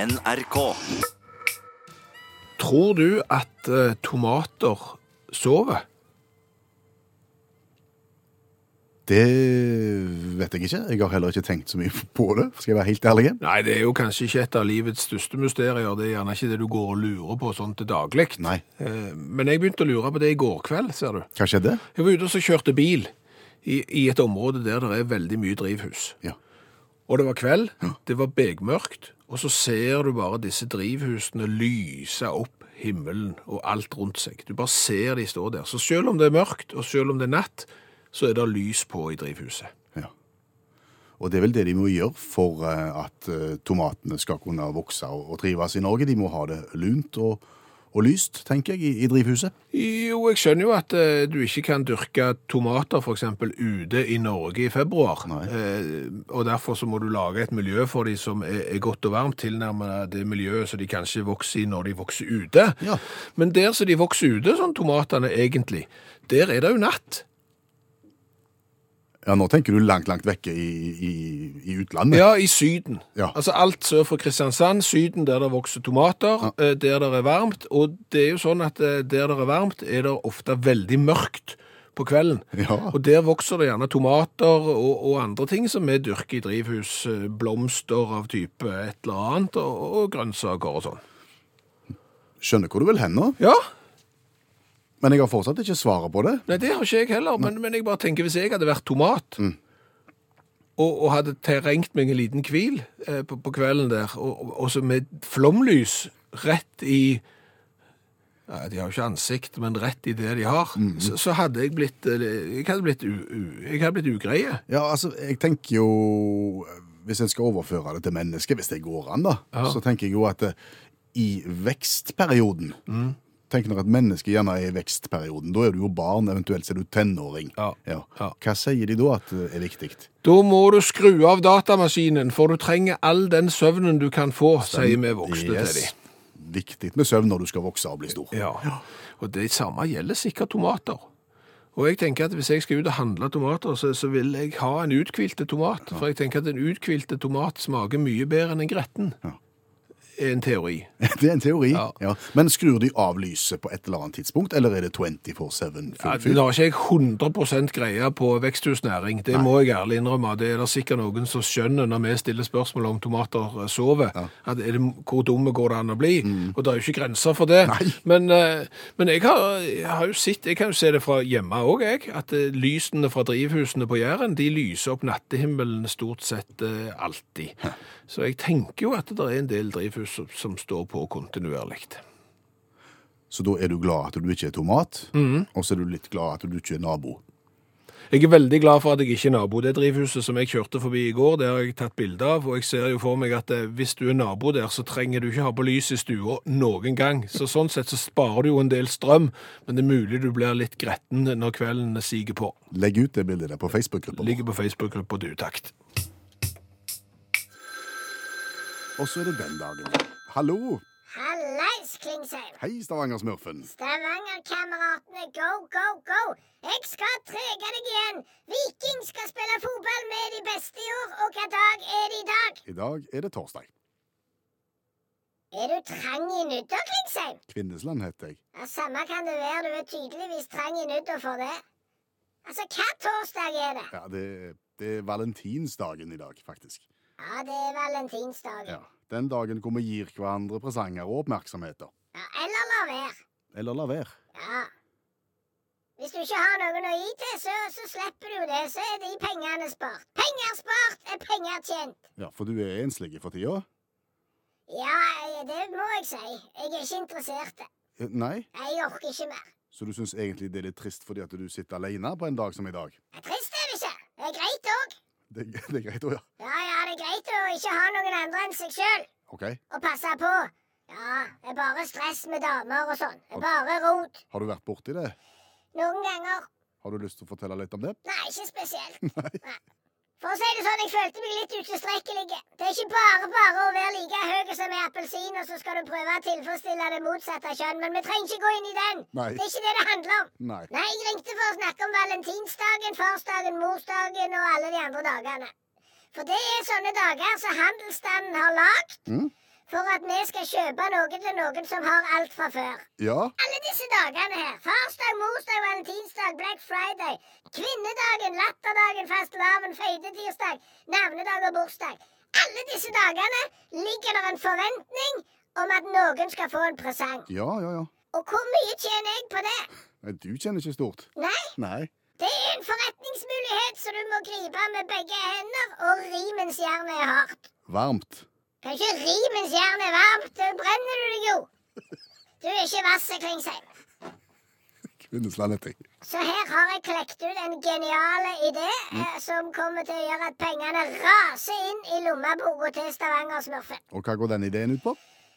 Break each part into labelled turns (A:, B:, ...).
A: NRK.
B: Tror du at eh, tomater sover?
C: Det vet jeg ikke. Jeg har heller ikke tenkt så mye på det, skal jeg være helt ærlig.
B: Nei, det er jo kanskje ikke et av livets største mysterier. Det er gjerne ikke det du går og lurer på sånn til daglig.
C: Nei.
B: Eh, Men jeg begynte å lure på det i går kveld, ser du.
C: Hva skjedde?
B: Jeg var ute og så kjørte bil i, i et område der det er veldig mye drivhus.
C: Ja.
B: Og det var kveld, det var begmørkt, og så ser du bare disse drivhusene lyse opp himmelen og alt rundt seg. Du bare ser de stå der. Så selv om det er mørkt, og selv om det er natt, så er det lys på i drivhuset.
C: ja. Og det er vel det de må gjøre for eh, at eh, tomatene skal kunne vokse og, og trives i Norge. De må ha det lunt og, og lyst, tenker jeg, i, i drivhuset.
B: Jo, jeg skjønner jo at eh, du ikke kan dyrke tomater for eksempel ute i Norge i februar.
C: Nei.
B: Eh, og derfor så må du lage et miljø for de som er, er godt og varmt, tilnærmet det miljøet som de kanskje vokser i når de vokser ute.
C: Ja.
B: Men der som de vokser ute, sånn tomatene egentlig, der er det jo natt.
C: Ja, nå tenker du langt, langt vekke i, i, i utlandet.
B: Ja, i syden.
C: Ja.
B: Altså alt sør for Kristiansand, syden der det vokser tomater, eh, der det er varmt. Og det er jo sånn at eh, der det er varmt, er det ofte veldig mørkt på kvelden.
C: Ja.
B: Og der vokser det gjerne tomater og, og andre ting som vi dyrker i drivhus. eh, Blomster av type et eller annet, og, og grønnsaker og sånn.
C: Skjønner hvor du vil hen nå,
B: Ja,
C: men jeg har fortsatt ikke svaret på det.
B: Nei, det har ikke jeg heller, men, men jeg bare tenker hvis jeg hadde vært tomat, og, og hadde terrengt meg en liten hvil eh, på, på kvelden der, og, og- og så med flomlys rett i ja, De har jo ikke ansikt, men rett i det de har, så, så hadde jeg blitt eh, Jeg hadde blitt, u, u, jeg hadde blitt ugreie.
C: Ja, altså, jeg tenker jo Hvis en skal overføre det til mennesket, hvis det går an, da,
B: Ja.
C: så tenker jeg jo at eh, i vekstperioden
B: Mm.
C: Tenk når et menneske gjerne er i vekstperioden. Da er du jo barn, eventuelt så er du tenåring.
B: Ja. Ja.
C: Hva sier de da at eh, er viktig?
B: Da må du skru av datamaskinen, for du trenger all den søvnen du kan få, sier vi voksne til dem.
C: Viktig med søvn når du skal vokse og bli stor.
B: Ja. Og det samme gjelder sikkert tomater. Og jeg tenker at hvis jeg skal ut og handle tomater, så, så vil jeg ha en uthvilte tomat. For jeg tenker at en uthvilte tomat smaker mye bedre enn en gretten.
C: Ja.
B: Er en teori.
C: Det er en teori.
B: Ja.
C: Ja. Men skrur de av lyset på et eller annet tidspunkt, eller er det 24-7
B: Ja,
C: full fyr?
B: Nå har ikke jeg 100 greie på veksthusnæring, det må jeg ærlig innrømme. Det er det sikkert noen som skjønner når vi stiller spørsmål om tomater eh, sover. At er det, hvor dumme går det an å bli? Og det er jo ikke grenser for det.
C: Nei.
B: Men, eh, men jeg, har, jeg har jo sett, jeg kan jo se det fra hjemme òg, jeg. At eh, lysene fra drivhusene på Jæren de lyser opp nattehimmelen stort sett eh, alltid. Så jeg tenker jo at det er en del drivhus som, som står på kontinuerlig.
C: Så da er du glad at du ikke er tomat,
B: Mm.
C: og så er du litt glad at du ikke er nabo.
B: Jeg er veldig glad for at jeg ikke er nabo. Det drivhuset som jeg kjørte forbi i går, det har jeg tatt bilde av, og jeg ser jo for meg at eh, hvis du er nabo der, så trenger du ikke ha på lys i stua noen gang. Så sånn sett så sparer du jo en del strøm, men det er mulig du blir litt gretten når kvelden siger på.
C: Legg ut det bildet der på Facebook-gruppa. vår.
B: Ligger på Facebook-gruppa til utakt.
C: Og så er det den dagen. Hallo!
D: Hallais, Klingsheim!
C: Hei, Stavanger-smurfen.
D: Stavanger-kameratene, go, go, go! Jeg skal trege deg igjen! Viking skal spille fotball med de beste i år, og hva dag er det i dag?
C: I dag er det torsdag.
D: Er du trang i nudda, Klingsheim?
C: Kvinnesland heter jeg.
D: Ja, Samme kan det være, du er tydeligvis trang i nudda for det. Altså, hva torsdag er det?
C: Ja, det, det er valentinsdagen i dag, faktisk.
D: Ja, det er valentinsdagen.
C: Ja. Den dagen hvor vi gir hverandre presanger og oppmerksomheter.
D: Ja, eller la være.
C: Eller la være.
D: Ja. Hvis du ikke har noen å gi til, så, så slipper du det. Så er de pengene spart. Penger spart er penger tjent.
C: Ja, for du er enslig for tida?
D: Ja, eh, det må jeg si. Jeg er ikke interessert.
C: Eh, Nei?
D: Nei, Jeg orker ikke mer.
C: Så du syns egentlig det er litt trist fordi at du sitter alene på en dag som i dag?
D: Det er trist er det ikke. Det er greit òg.
C: Det, det er greit å ja.
D: Ja, ja, det er greit å ikke ha noen andre enn seg sjøl
C: OK.
D: og passe på. Ja, det er bare stress med damer og sånn. Det er bare rot.
C: Har du vært borti det?
D: Noen ganger.
C: Har du lyst til å fortelle litt om det?
D: Nei, ikke spesielt. Nei. For å si det sånn, jeg følte meg litt utilstrekkelig. Det er ikke bare bare å være like høy som ei appelsin, og så skal du prøve å tilfredsstille det motsatte kjønn. Men vi trenger ikke gå inn i den.
C: Nei.
D: Det er ikke det det handler om.
C: Nei.
D: Nei, jeg ringte for å snakke om valentinsdagen, farsdagen, morsdagen og alle de andre dagene. For det er sånne dager som handelsstanden har lagd
C: Mm.
D: for at vi skal kjøpe noe til noen som har alt fra før.
C: Ja,
D: Alle disse dagene her. Farsdag, morsdag, valentinsdag, black friday. Kvinnedagen, latterdagen, fastelavn, feidetirsdag, navnedag og bursdag. Alle disse dagene ligger der en forventning om at noen skal få en presang.
C: ja, ja. ja.
D: Og hvor mye tjener jeg på det?
C: Nei, Du kjenner ikke stort.
D: Nei,
C: Nei.
D: det er en forretningsmulighet som du må gripe med begge hender, og ri mens jernet er hardt.
C: Varmt.
D: Kan ikke ri mens jernet er varmt, da brenner du deg jo. Du er ikke Vasse Klingsheim.
C: Kvinnesland heter jeg.
D: Så her har jeg klekt ut en genial idé eh, som kommer til å gjøre at pengene raser inn i lommeboka til Stavanger-smurfen.
C: Og hva går den ideen ut på?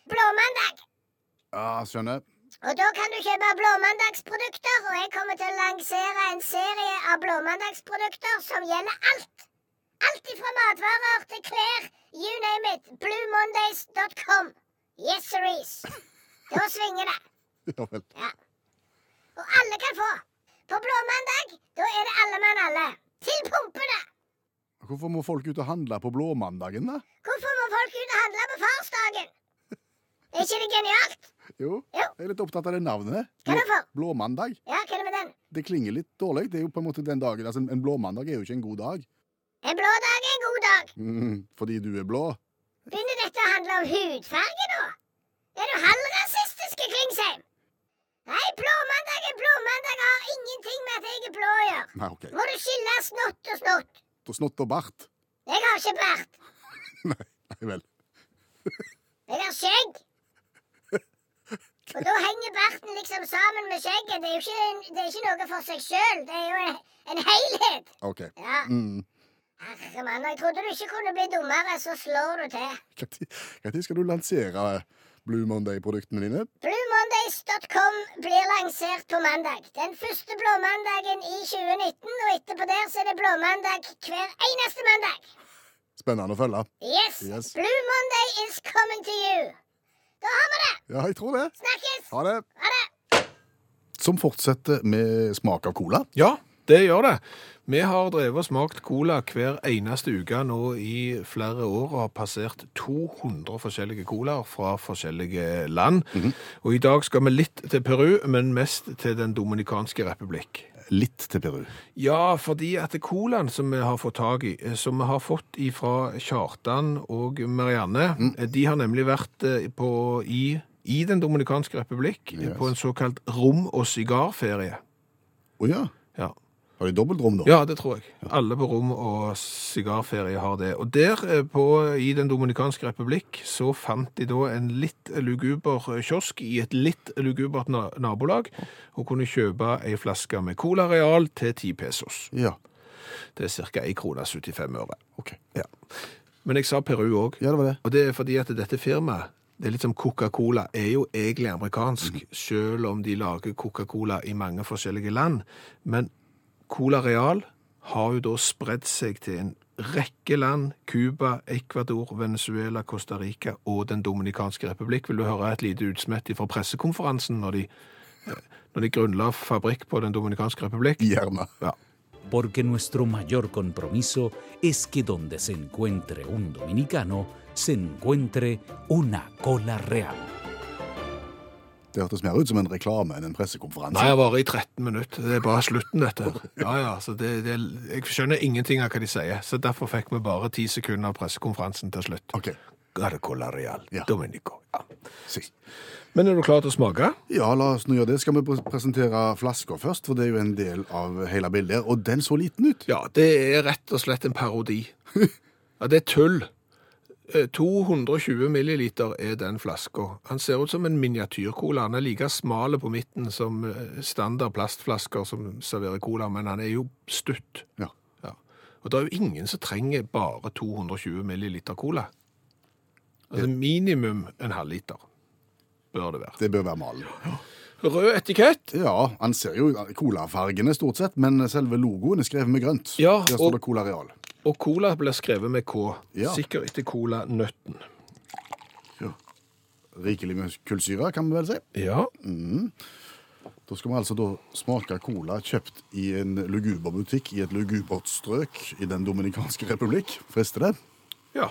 D: Blåmandag!
C: Ja, skjønner.
D: Og da kan du kjøpe blåmandagsprodukter, og jeg kommer til å lansere en serie av blåmandagsprodukter som gjelder alt. Alt ifra matvarer til klær, you name it. Bluemondays.com. Yes, siris. Da svinger det.
C: Ja vel.
D: Ja. Og alle kan få. På blåmandag, da er det alle mann alle. Til pumpene!
C: Hvorfor må folk ut og handle på blåmandagen, da?
D: Hvorfor må folk ut og handle på farsdagen? Er ikke det genialt?
C: Jo,
D: Ja.
C: jeg er litt opptatt av det navnet.
D: Hva er det for?
C: Blåmandag.
D: Ja, hva er det med den?
C: Det klinger litt dårlig. Det er jo på en måte den dagen, altså En blåmandag er jo ikke en god dag.
D: En blå dag er en god dag.
C: Mm, fordi du er blå.
D: Begynner dette å handle om hudfarge nå? Er du halvrasistiske, Klingsheim? Nei, blåmandag er blåmandag og har ingenting med at jeg er blå å gjøre.
C: Nei, OK.
D: Må du skille snott og snott?
C: Og snott og bart.
D: Jeg har ikke bart.
C: Nei, nei vel.
D: Jeg har skjegg. Og da henger barten liksom sammen med skjegget. Det er jo ikke, en, det er ikke noe for seg sjøl. Det er jo en, en helhet.
C: OK.
D: Ja,
C: Mm.
D: Herre mann, jeg trodde du ikke kunne bli dummere, så slår du til.
C: Når skal du lansere eh, Blue Monday-produktene dine?
D: Bluemondays.com blir lansert på mandag. Den første blåmandagen i 2019, og etterpå der så er det blåmandag hver eneste mandag.
C: Spennende å følge.
D: Yes!
C: Yes.
D: Blue Monday is coming to you. Da har vi det!
C: Ja, jeg tror det.
D: Snakkes!
C: Ha det.
D: Ha det!
C: Som fortsetter med smak av cola.
B: Ja, det gjør det. Vi har drevet og smakt cola hver eneste uke nå i flere år og har passert 200 forskjellige colaer fra forskjellige land. Og i dag skal vi litt til Peru, men mest til Den dominikanske republikk.
C: Litt til Peru.
B: Ja, fordi at colaen som vi har fått tak i, eh, som vi har fått fra Kjartan og Marianne, eh, de har nemlig vært eh, på, i, i Den dominikanske republikk eh,
C: Yes.
B: på en såkalt rom- og sigarferie.
C: Å ja.
B: Ja.
C: Har de dobbeltrom, da?
B: Ja, det tror jeg. Alle på rom og sigarferie har det. Og der eh, på, i Den dominikanske republikk så fant de da en litt luguber eh, kiosk i et litt lugubert na nabolag, og kunne kjøpe ei flaske med Cola Real til 10 pesos.
C: Ja.
B: Det er ca. 1 krone 75 øre.
C: OK.
B: Men jeg sa Peru òg,
C: Ja, det var det.
B: og det er fordi at dette firmaet det er litt som Coca-Cola er jo egentlig amerikansk, selv om de lager Coca-Cola i mange forskjellige land. Men Cola Real har jo da spredt seg til en rekke land. Cuba, Ecuador, Venezuela, Costa Rica og Den dominikanske republikk. Vil du høre et lite utsmett fra pressekonferansen når de, eh, når de grunnla fabrikk på Den dominikanske republikk?
C: Gjerne.
B: Ja.
A: porque nuestro mayor compromiso es que donde se encuentre un dominicano, se encuentre una cola real.
C: Det hørtes mer ut som en reklame enn en pressekonferanse.
B: Nei, jeg varer i 13 minutter. Det er bare slutten, dette. Ja, ja, så det, det, Jeg skjønner ingenting av hva de sier, så derfor fikk vi bare 10 sekunder av pressekonferansen til slutt.
C: OK.
B: Garcola Real,
C: Ja.
B: Dominico. Ja.
C: Si.
B: Men er du klar til å smake?
C: Ja, la oss nå gjøre det. Skal vi pre- presentere flaska først? For det er jo en del av hele bildet. Og den så liten ut.
B: Ja, det er rett og slett en parodi. Ja, det er tull. Eh, 220 milliliter er den flaska. Han ser ut som en miniatyrcola. Han er like smal på midten som eh, standard plastflasker som serverer cola, men han er jo stutt.
C: Ja.
B: Ja. Og det er jo ingen som trenger bare 220 milliliter cola. Altså minimum en halv liter bør det være.
C: Det bør være malen.
B: Rød etikett.
C: Ja, han ser jo colafargene stort sett, men selve logoen er skrevet med grønt.
B: Ja,
C: Der står
B: og-
C: det Cola Real.
B: Og cola blir skrevet med K.
C: Ja.
B: Sikker etter colanøtten.
C: Rikelig med kullsyre, kan vi vel si.
B: Ja.
C: Da skal vi altså da smake cola kjøpt i en luguber butikk i et lugubert strøk i Den dominikanske republikk. Frister det?
B: ja.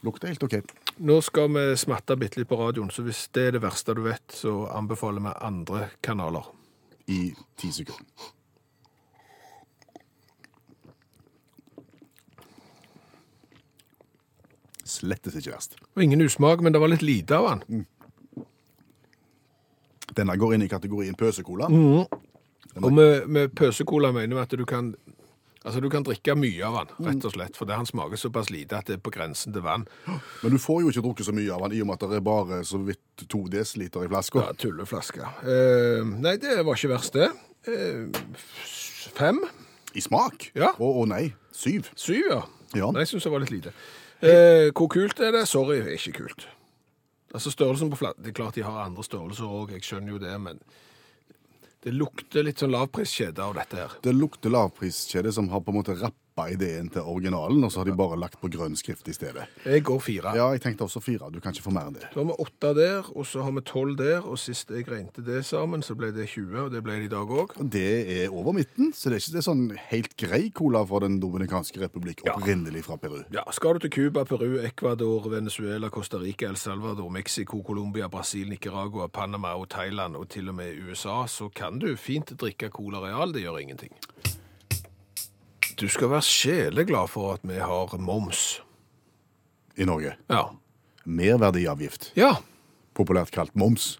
C: Lukter helt OK.
B: Nå skal vi smatte bitte litt på radioen, så hvis det er det verste du vet, så anbefaler vi andre kanaler.
C: i ti sekunder. Slettes ikke verst.
B: Og ingen usmak, men det var litt lite av den.
C: Denne går inn i kategorien pøsekola.
B: Mm. Og med, med pøsekola mener vi at du kan Altså, du kan drikke mye av den, rett og slett, for det han smaker såpass lite at det er på grensen til vann.
C: Men du får jo ikke drukket så mye av den, i og med at det er bare så vidt to desiliter i flaska.
B: Ja, tulleflaske. Eh, nei, det var ikke verst, det. Eh, f- fem?
C: I smak?
B: Ja.
C: Å å nei, syv.
B: Syv, ja.
C: Ja.
B: Nei, jeg syns det var litt lite. Eh, hvor kult er det? Sorry, det er ikke kult. Altså størrelsen på flaten, Det er klart de har andre størrelser òg, jeg skjønner jo det, men det lukter litt sånn lavpriskjede av dette her.
C: Det lukter lavpriskjede som har på en måte rappa ideen til originalen, og så har de bare lagt på grønn skrift i stedet.
B: Jeg går fire.
C: Ja, jeg tenkte også fire. Du kan ikke få mer enn det.
B: Da har vi åtte der, og så har vi tolv der, og sist jeg regnet det sammen, så ble det 20, og det ble det i dag òg.
C: Og Det er over midten, så det er ikke det er sånn helt grei cola fra Den dominikanske republikk, opprinnelig fra Peru.
B: Ja, skal du til Cuba, Peru, Ecuador, Venezuela, Costa Rica, El Salvador, Mexico, Colombia, Brasil, Nicaragua, Panama og Thailand og til og med USA, så kan du fint drikke Cola Real. Det gjør ingenting. Du skal være sjeleglad for at vi har moms.
C: I Norge.
B: Ja.
C: Merverdiavgift,
B: Ja,
C: populært kalt moms.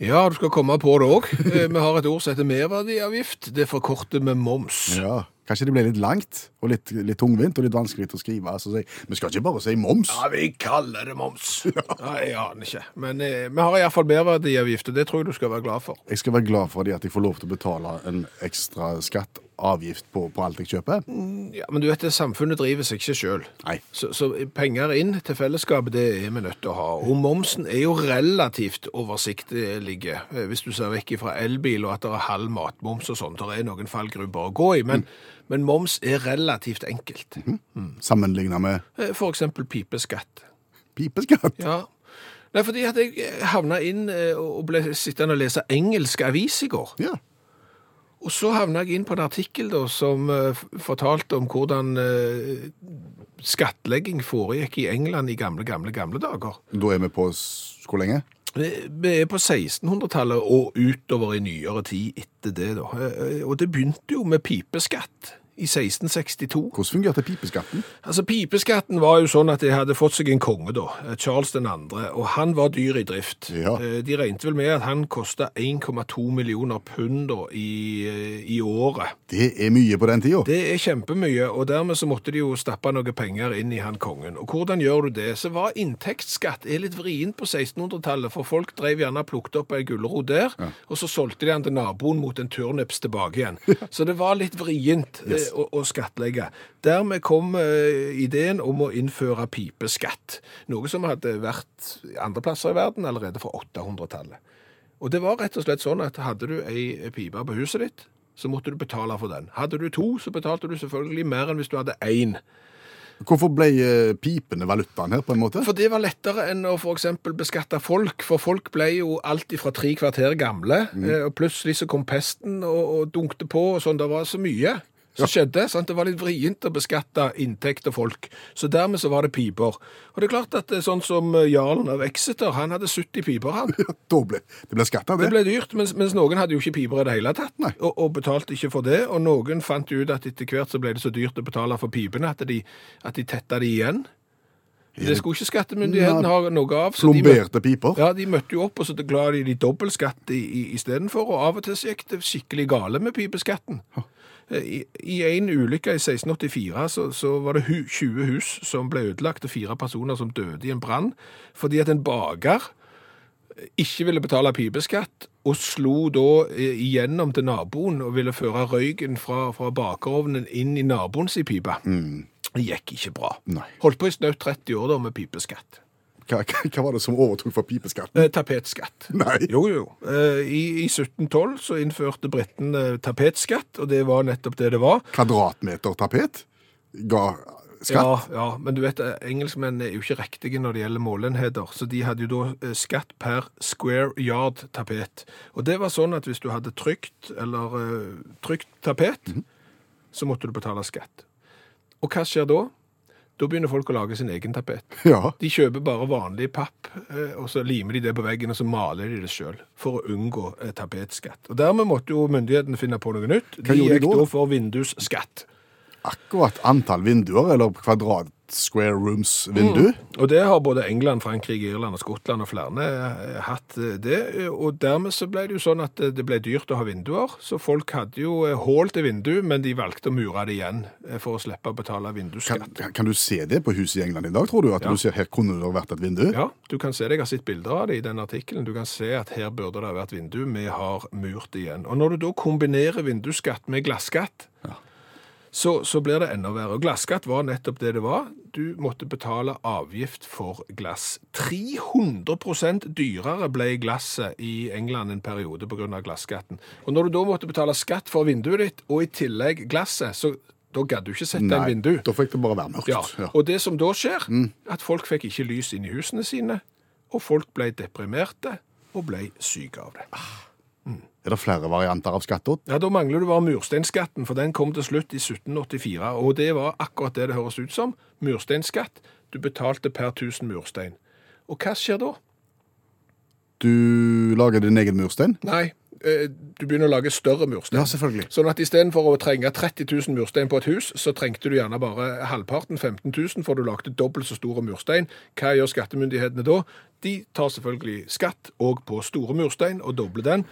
B: ja du skal komme på det òg. Vi har et ord som heter merverdiavgift. Det forkorter vi moms.
C: Ja, Kanskje det ble litt langt og litt, litt tungvint og litt vanskelig å skrive. Altså, si, vi skal ikke bare si moms.
B: Ja, vi kaller det moms. Nei, jeg aner ikke. Men eh, vi har iallfall merverdiavgift, og det tror jeg du skal være glad for.
C: Jeg skal være glad for det at jeg får lov til å betale en ekstra skatt, avgift, på, på alt jeg kjøper.
B: Ja, men du vet det, samfunnet driver seg ikke sjøl.
C: Nei.
B: Så, så penger inn til fellesskapet, det er vi nødt til å ha. Og momsen er jo relativt oversiktlig, eh, hvis du ser vekk fra elbil og at det er halv matmoms og sånn. Det er noen fallgrupper å gå i, men, men moms er relativt enkelt.
C: Sammenligna med
B: Eh, For eksempel pipeskatt.
C: pipeskatt.
B: Ja. Nei, fordi at jeg eh, havna inn eh, og ble sittende og lese engelsk avis i går.
C: Ja.
B: Og så havna jeg inn på en artikkel da, som eh, f- fortalte om hvordan eh, skattlegging foregikk i England i gamle, gamle, gamle dager.
C: Da er vi på s- hvor lenge?
B: Eh, Vi er på 1600-tallet og utover i nyere tid etter det. da. Eh, eh, Og det begynte jo med pipeskatt i 1662.
C: Hvordan fungerte pipeskatten?
B: Altså, Pipeskatten var jo sånn at de hadde fått seg en konge, da, eh, Charles 2., og han var dyr i drift.
C: Ja.
B: Eh, De regnet vel med at han kosta 1,2 millioner pund da, i, eh, i året.
C: Det er mye på den tida.
B: Det er kjempemye, og dermed så måtte de jo stappe noe penger inn i han kongen. Og hvordan gjør du det? Så var inntektsskatt er litt vrient på 1600-tallet, for folk drev gjerne og plukket opp ei gulrot der, og så solgte de den til naboen mot en turnips tilbake igjen. Så det var litt vrient eh, å, å skattlegge. Dermed kom eh, ideen om å innføre pipeskatt, noe som hadde vært andre plasser i verden allerede fra 800-tallet. Og det var rett og slett sånn at hadde du ei pipe på huset ditt, så måtte du betale for den. Hadde du to, så betalte du selvfølgelig mer enn hvis du hadde én.
C: Hvorfor ble eh, pipene valutaen her, på en måte?
B: For det var lettere enn å f.eks. beskatte folk, for folk ble jo alt ifra tre kvarter gamle, eh, og plutselig så kom pesten og, og dunkte på, og sånn, det var så mye som skjedde, sant? Det var litt vrient å beskatte inntekt og folk, så dermed så var det piper. Og det er klart at det er sånn som eh, jarlen av Exeter, han hadde 70 piper, han.
C: Da ble det ble skatta, det.
B: Det ble dyrt, mens, mens noen hadde jo ikke piper i det hele tatt,
C: Nei.
B: og, og betalte ikke for det. Og noen fant ut at etter hvert så ble det så dyrt å betale for pipene at de, at de tetta de igjen. Det skulle ikke skattemyndigheten
C: Nei.
B: ha noe av. så de møtte-
C: Plomberte piper.
B: ja, de møtte jo opp, og så ga de de dobbeltskatt istedenfor. Og av og til så gikk det skikkelig gale med pipeskatten. Eh, I, I en ulykke i 1684 så, så var det hu, 20 hus som ble ødelagt, og fire personer som døde i en brann fordi at en baker ikke ville betale pipeskatt, og slo da eh, igjennom til naboen og ville føre røyken fra, fra bakerovnen inn i naboens i pipe. Det gikk ikke bra.
C: Nei.
B: Holdt på i snaut 30 år da med pipeskatt.
C: Hva, hva, hva var det som overtok for pipeskatten?
B: Eh, tapetskatt.
C: Nei.
B: Jo, jo. Eh, I, i 1712 så innførte britene eh, tapetskatt, og det var nettopp det det var.
C: Kvadratmeter tapet ga skatt.
B: Ja, ja, men du vet, eh, engelskmenn er jo ikke riktige når det gjelder målenheter, så de hadde jo da eh, skatt per square yard tapet. Og det var sånn at hvis du hadde trykt, eller eh, trykt tapet, så måtte du betale skatt. Og hva skjer da? Da begynner folk å lage sin egen tapet.
C: Ja.
B: De kjøper bare vanlig papp, eh, og så limer de det på veggen, og så maler de det sjøl for å unngå eh, tapetskatt. Og dermed måtte jo myndighetene finne på noe nytt. De
C: gjorde de
B: gikk
C: da?
B: da for vindusskatt.
C: Akkurat antall vinduer, eller kvadrat square rooms-vindu.
B: Og det har både England, Frankrike, Irland og Skottland og flere eh, hatt eh, det. Og dermed så ble det jo sånn at eh, det ble dyrt å ha vinduer, så folk hadde jo eh, hull til vindu, men de valgte å mure det igjen eh, for å slippe å betale
C: Kan,
B: vindusskatt.
C: kan du se det på huset i England i dag, tror du? At
B: Ja.
C: du ser her kunne det vært et vindu?
B: Ja, du kan se det. Jeg har sett bilder av det i den artikkelen. Du kan se at her burde det ha vært vindu. Vi har murt igjen. Og når du da kombinerer vindusskatt med glasskatt, så, så blir det enda verre. Og glasskatt var nettopp det det var. Du måtte betale avgift for glass. 300 dyrere ble glasset i England en periode pga. glasskatten. Og når du da måtte betale skatt for vinduet ditt, og i tillegg glasset, så da gadd du ikke sette en vindu.
C: da fikk det bare være mørkt.
B: Ja,
C: Ja.
B: og det som da skjer, at folk fikk ikke lys inn i husene sine, og folk ble deprimerte og ble syke av det.
C: Er det flere varianter av skatter?
B: Ja, Da mangler du bare mursteinskatten, for den kom til slutt i 1784. Og det var akkurat det det høres ut som. Mursteinskatt. Du betalte per 1000 murstein. Og hva skjer da?
C: Du lager din egen murstein?
B: Nei, eh, du begynner å lage større murstein.
C: Ja, selvfølgelig.
B: Sånn at istedenfor å trenge 30 000 murstein på et hus, så trengte du gjerne bare halvparten, 15 000, for du lagde dobbelt så store murstein. Hva gjør skattemyndighetene da? De tar selvfølgelig skatt òg på store murstein, og dobler den.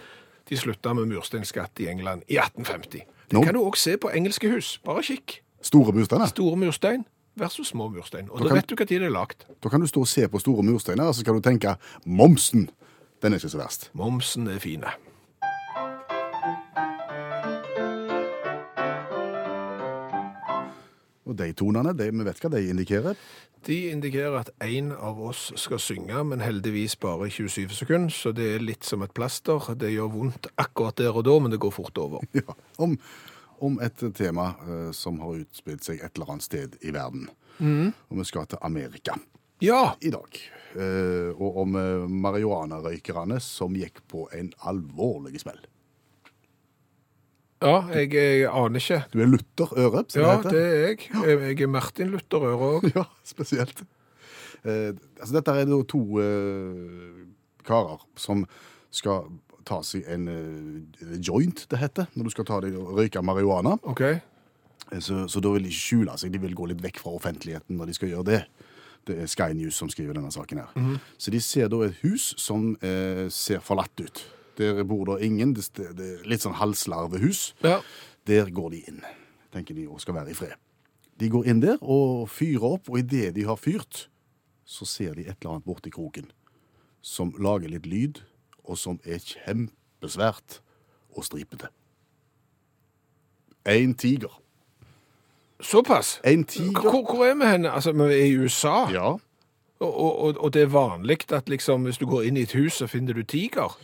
B: De slutta med mursteinskatt i England i 1850. Det
C: Nå-
B: kan du òg se på engelske hus. Bare kikk.
C: Store mursteiner.
B: Store murstein versus små murstein. Og da,
C: kan-
B: vet du når det er lagd.
C: Da kan du stå og se på store mursteiner, og så kan du tenke momsen. Den er ikke så verst.
B: Momsen er fine.
C: Og de tonene, de, vi vet hva de indikerer.
B: De indikerer at én av oss skal synge, men heldigvis bare i 27 sekunder, så det er litt som et plaster. Det gjør vondt akkurat der og da, men det går fort over.
C: Ja. Om, om et tema eh, som har utspilt seg et eller annet sted i verden. Og vi skal til Amerika
B: Ja,
C: i dag. Eh, og om eh, marihuanarøykerne som gikk på en alvorlig smell.
B: ja jeg, jeg aner ikke.
C: Du er Luther Øre, som
B: Ja,
C: det heter.
B: det er jeg. Jeg er Martin Luther Øre òg.
C: Ja, spesielt. Eh, altså dette er da to eh, karer som skal ta seg en eh, joint, det heter, når du skal ta deg og røyke marihuana.
B: OK.
C: Eh, Så, så da vil de ikke skjule seg, de vil gå litt vekk fra offentligheten når de skal gjøre det. Det er Sky News som skriver denne saken her. Så de ser da et hus som eh, ser forlatt ut. Der bor da ingen, det, det er litt sånn halslarvehus.
B: Ja.
C: Der går de inn, tenker de, og skal være i fred. De går inn der og fyrer opp, og idet de har fyrt, så ser de et eller annet borti kroken som lager litt lyd, og som er kjempesvært og stripete. En tiger.
B: Såpass.
C: En
B: Hvor,
C: tiger.
B: hvor er vi henne? Altså, vi er i USA,
C: Ja.
B: og, og, og det er vanlig at liksom, hvis du går inn i et hus, så finner du tiger.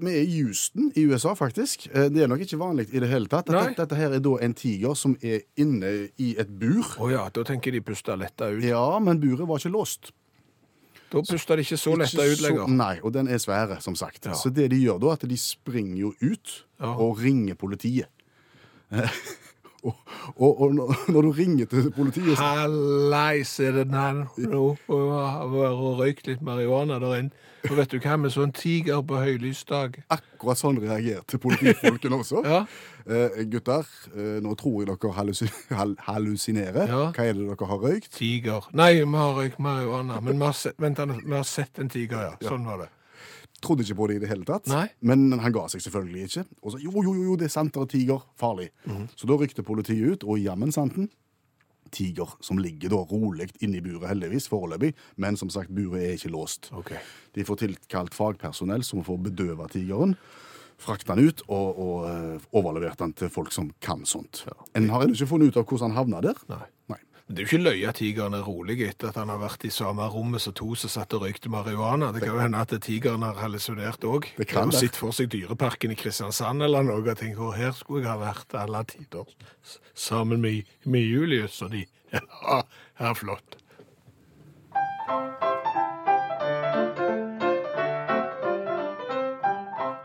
C: Vi er i Houston i USA, faktisk. Eh, Det er nok ikke vanlig i det hele tatt.
B: Nei.
C: Dette, dette her er da en tiger som er inne i et bur.
B: Å ja, da tenker de puster letta ut.
C: Ja, men buret var ikke låst.
B: Da puster de ikke så letta
C: Ikke
B: ut
C: så-
B: lenger.
C: Nei, og den er svære, som sagt.
B: Ja.
C: Så det de gjør da, er at de springer jo ut
B: Ja.
C: og ringer politiet. og og, og når, når du ringer til politiet så-
B: Hallais, er det den nå? Vært og røykt litt marihuana der inne. Og vet du hva, med sånn tiger på høylysdag
C: Akkurat sånn reagerte politifolkene også.
B: Ja.
C: Eh, gutter, eh, nå tror jeg dere hallusi- hal- hallusinerer.
B: Ja.
C: Hva er det dere har røykt?
B: Tiger. Nei, vi har røykt marihuana. Men vi har sett, vent, da, vi har sett en tiger, ja. Sånn var det.
C: Trodde ikke på det i det hele tatt.
B: Nei.
C: Men han ga seg selvfølgelig ikke. Og så jo, jo, jo, jo, det er sant, det er tiger. Farlig.
B: Mhm.
C: Så da rykte politiet ut, og jammen santen. Tiger som ligger da rolig inne i buret, heldigvis, foreløpig. Men som sagt, buret er ikke låst.
B: Ok.
C: De får tilkalt fagpersonell som får bedøve tigeren. Frakte han ut og, og eh, overlevert han til folk som kan sånt. En har ennå ikke funnet ut av hvordan han havna der.
B: Nei.
C: Nei.
B: Men det er jo ikke løye at tigeren er rolig etter at han har vært i samme rommet som to som satt og røykte marihuana. Det kan jo hende at tigeren har hallusinert òg.
C: Det kan
B: Og
C: det.
B: sitt for seg Dyreparken i Kristiansand eller noe og tenker at her skulle jeg ha vært alle tider s- sammen med, med Julius og de. Ja, her er flott.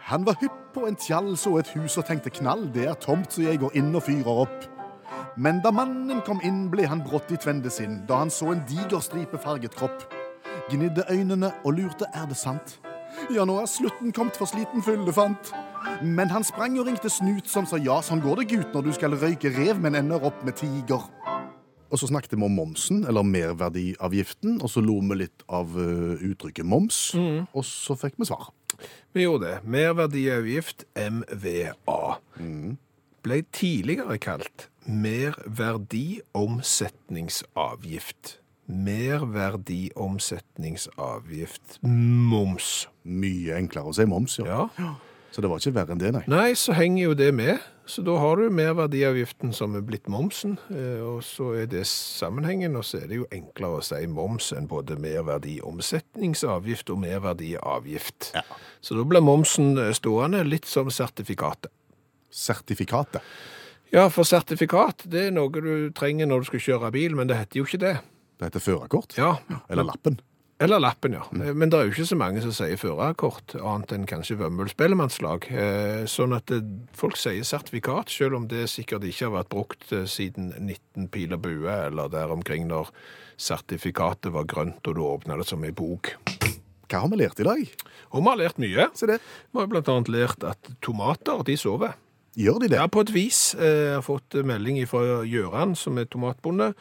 C: Han var hypp på en tjall, så et hus og tenkte knall, det er tomt, så jeg går inn og fyrer opp. Men da mannen kom inn, ble han brått i tvende sinn da han så en diger stripe farget kropp. Gnidde øynene og lurte er det sant. Ja, nå er slutten kommet for sliten fyllefant. Men han sprang og ringte Snut, som sa ja, sånn går det, gutt, når du skal røyke rev, men ender opp med tiger. Og så snakket vi om momsen, eller merverdiavgiften, og så lo vi litt av eh, uttrykket moms, og så fikk vi svar.
B: Vi gjorde det. Merverdiavgift, MVA. Ble tidligere kalt merverdiomsetningsavgift. Merverdiomsetningsavgift. Moms.
C: Mye enklere å si moms, ja.
B: Ja.
C: Så det var ikke verre enn det, nei.
B: Nei, så henger jo det med. Så da har du merverdiavgiften som er blitt momsen, eh, og så er det sammenhengen, og så er det jo enklere å si moms enn både merverdiomsetningsavgift og merverdiavgift.
C: Ja.
B: Så da blir momsen eh, stående litt som sertifikatet.
C: Sertifikatet.
B: Ja, for sertifikat, det er noe du trenger når du skal kjøre bil, men det heter jo ikke det.
C: Det heter førerkort.
B: Ja,
C: Eller lappen.
B: eller lappen, ja. Men det er jo ikke så mange som sier førerkort, annet enn kanskje vømmelspellemannslag. Eh, Sånn at eh, folk sier sertifikat, selv om det sikkert ikke har vært brukt eh, siden 19 pil og bue, eller der omkring når sertifikatet var grønt og du åpnet det som en bok.
C: Hva har vi lært i dag?
B: Og vi har lært mye.
C: Se det.
B: Vi har blant annet lært at tomater, de sover.
C: Gjør de det?
B: Ja, på et vis. Eh, Jeg har fått melding fra Gjøran, som er tomatbonde.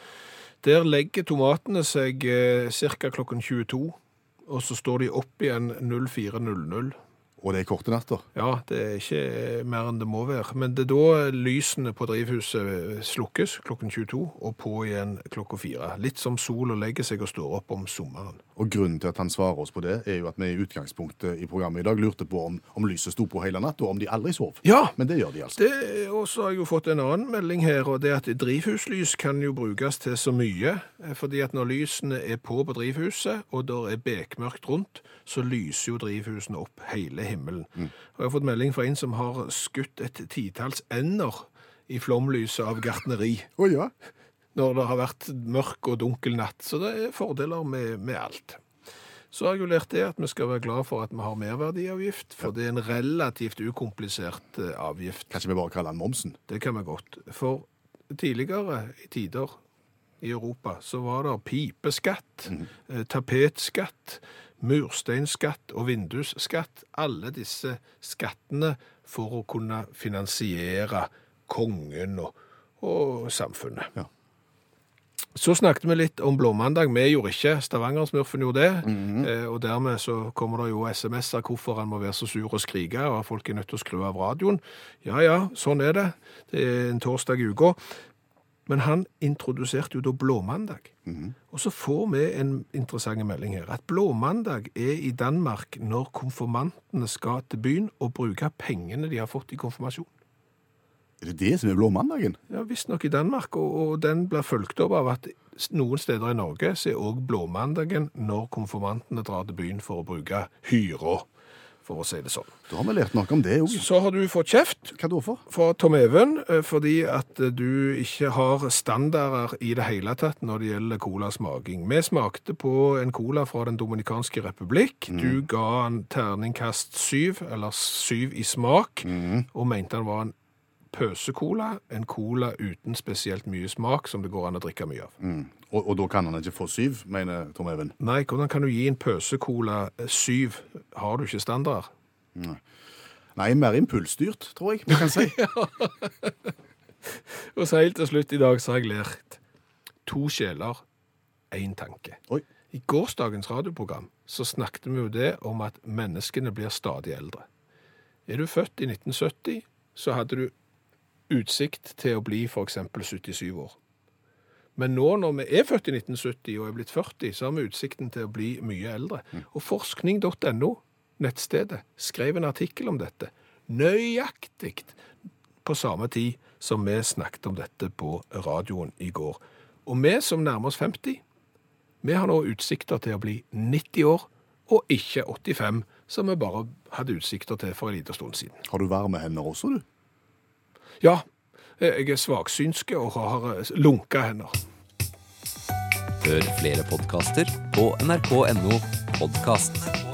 B: Der legger tomatene seg ca. klokken 22, og så står de opp igjen 04.00.
C: Og det er korte natter.
B: Ja, det er ikke eh, mer enn det må være. Men det er da lysene på drivhuset eh, slukkes klokken 22, og på igjen klokka 4. Litt som sola legger seg og står opp om sommeren.
C: Og grunnen til at han svarer oss på det, er jo at vi i utgangspunktet i programmet i dag lurte på om, om lyset sto på hele natta, og om de aldri sov.
B: Ja,
C: Men det gjør de altså.
B: Det, og så har jeg jo fått en annen melding her, og det er at drivhuslys kan jo brukes til så mye, eh, fordi at når lysene er på på drivhuset, og der er bekmørkt rundt, så lyser jo drivhusene opp hele himmelen. Og jeg har fått melding fra en som har skutt et titalls ender i flomlyset av gartneri,
C: Å ja.
B: når det har vært mørk og dunkel natt, så det er fordeler med, med alt. Så har jeg jo lært det at vi skal være glad for at vi har merverdiavgift, for det er en relativt ukomplisert eh, avgift.
C: Kanskje vi bare kaller han Momsen?
B: Det kan vi godt. For tidligere i tider i Europa så var det pipeskatt, eh, tapetskatt, mursteinskatt og vindusskatt. Alle disse skattene for å kunne finansiere kongen og, og samfunnet.
C: Ja.
B: Så snakket vi litt om blåmandag. Vi gjorde ikke Stavanger-smurfen gjorde det. eh, og dermed så kommer det jo SMS-er hvorfor han må være så sur og skrike, og at folk er nødt til å skru av radioen. Ja ja, sånn er det. Det er en torsdag i uka. Men han introduserte jo da blåmandag. Og så får vi en interessant melding her. At blåmandag er i Danmark når konfirmantene skal til byen og bruke pengene de har fått i konfirmasjon.
C: Er det det som er blåmandagen?
B: Ja, visstnok i Danmark, og, og den blir fulgt opp av at s- noen steder i Norge så er òg blåmandagen når konfirmantene drar til byen for å bruke hyra, for å si det sånn.
C: Da har vi lært noe om det òg.
B: Så har du fått kjeft
C: Hva da for?
B: fra Tom Even eh, fordi at eh, du ikke har standarder i det hele tatt når det gjelder colasmaking. Vi smakte på en cola fra Den dominikanske republikk. Du ga en terningkast syv, eller syv i smak, og mente han var en pøsekola, en cola uten spesielt mye smak som det går an å drikke mye av.
C: Og, og da kan han ikke få syv, mener Tom Even.
B: Nei, hvordan kan du gi en pøsekola eh, syv? Har du ikke standard?
C: Nei, mer impulsstyrt, tror jeg vi kan si.
B: Og så helt til slutt i dag så har jeg lært to sjeler, én tanke.
C: Oi.
B: I gårsdagens radioprogram så snakket vi jo det om at menneskene blir stadig eldre. Er du født i 1970, så hadde du utsikt til å bli f.eks. 77 år. Men nå når vi er født i 1970 og er blitt 40, så har vi utsikten til å bli mye eldre. Og forskning.no, nettstedet, skrev en artikkel om dette. Nøyaktig på samme tid som vi snakket om dette på radioen i går. Og vi som nærmer oss 50, vi har nå utsikter til å bli 90 år, og ikke 85, som vi bare hadde utsikter til for en liten stund siden.
C: Har du varme hender også, du?
B: Ja, jeg er svaksynske og har lunka hender.
E: Hør flere podkaster på nrk.no podkast.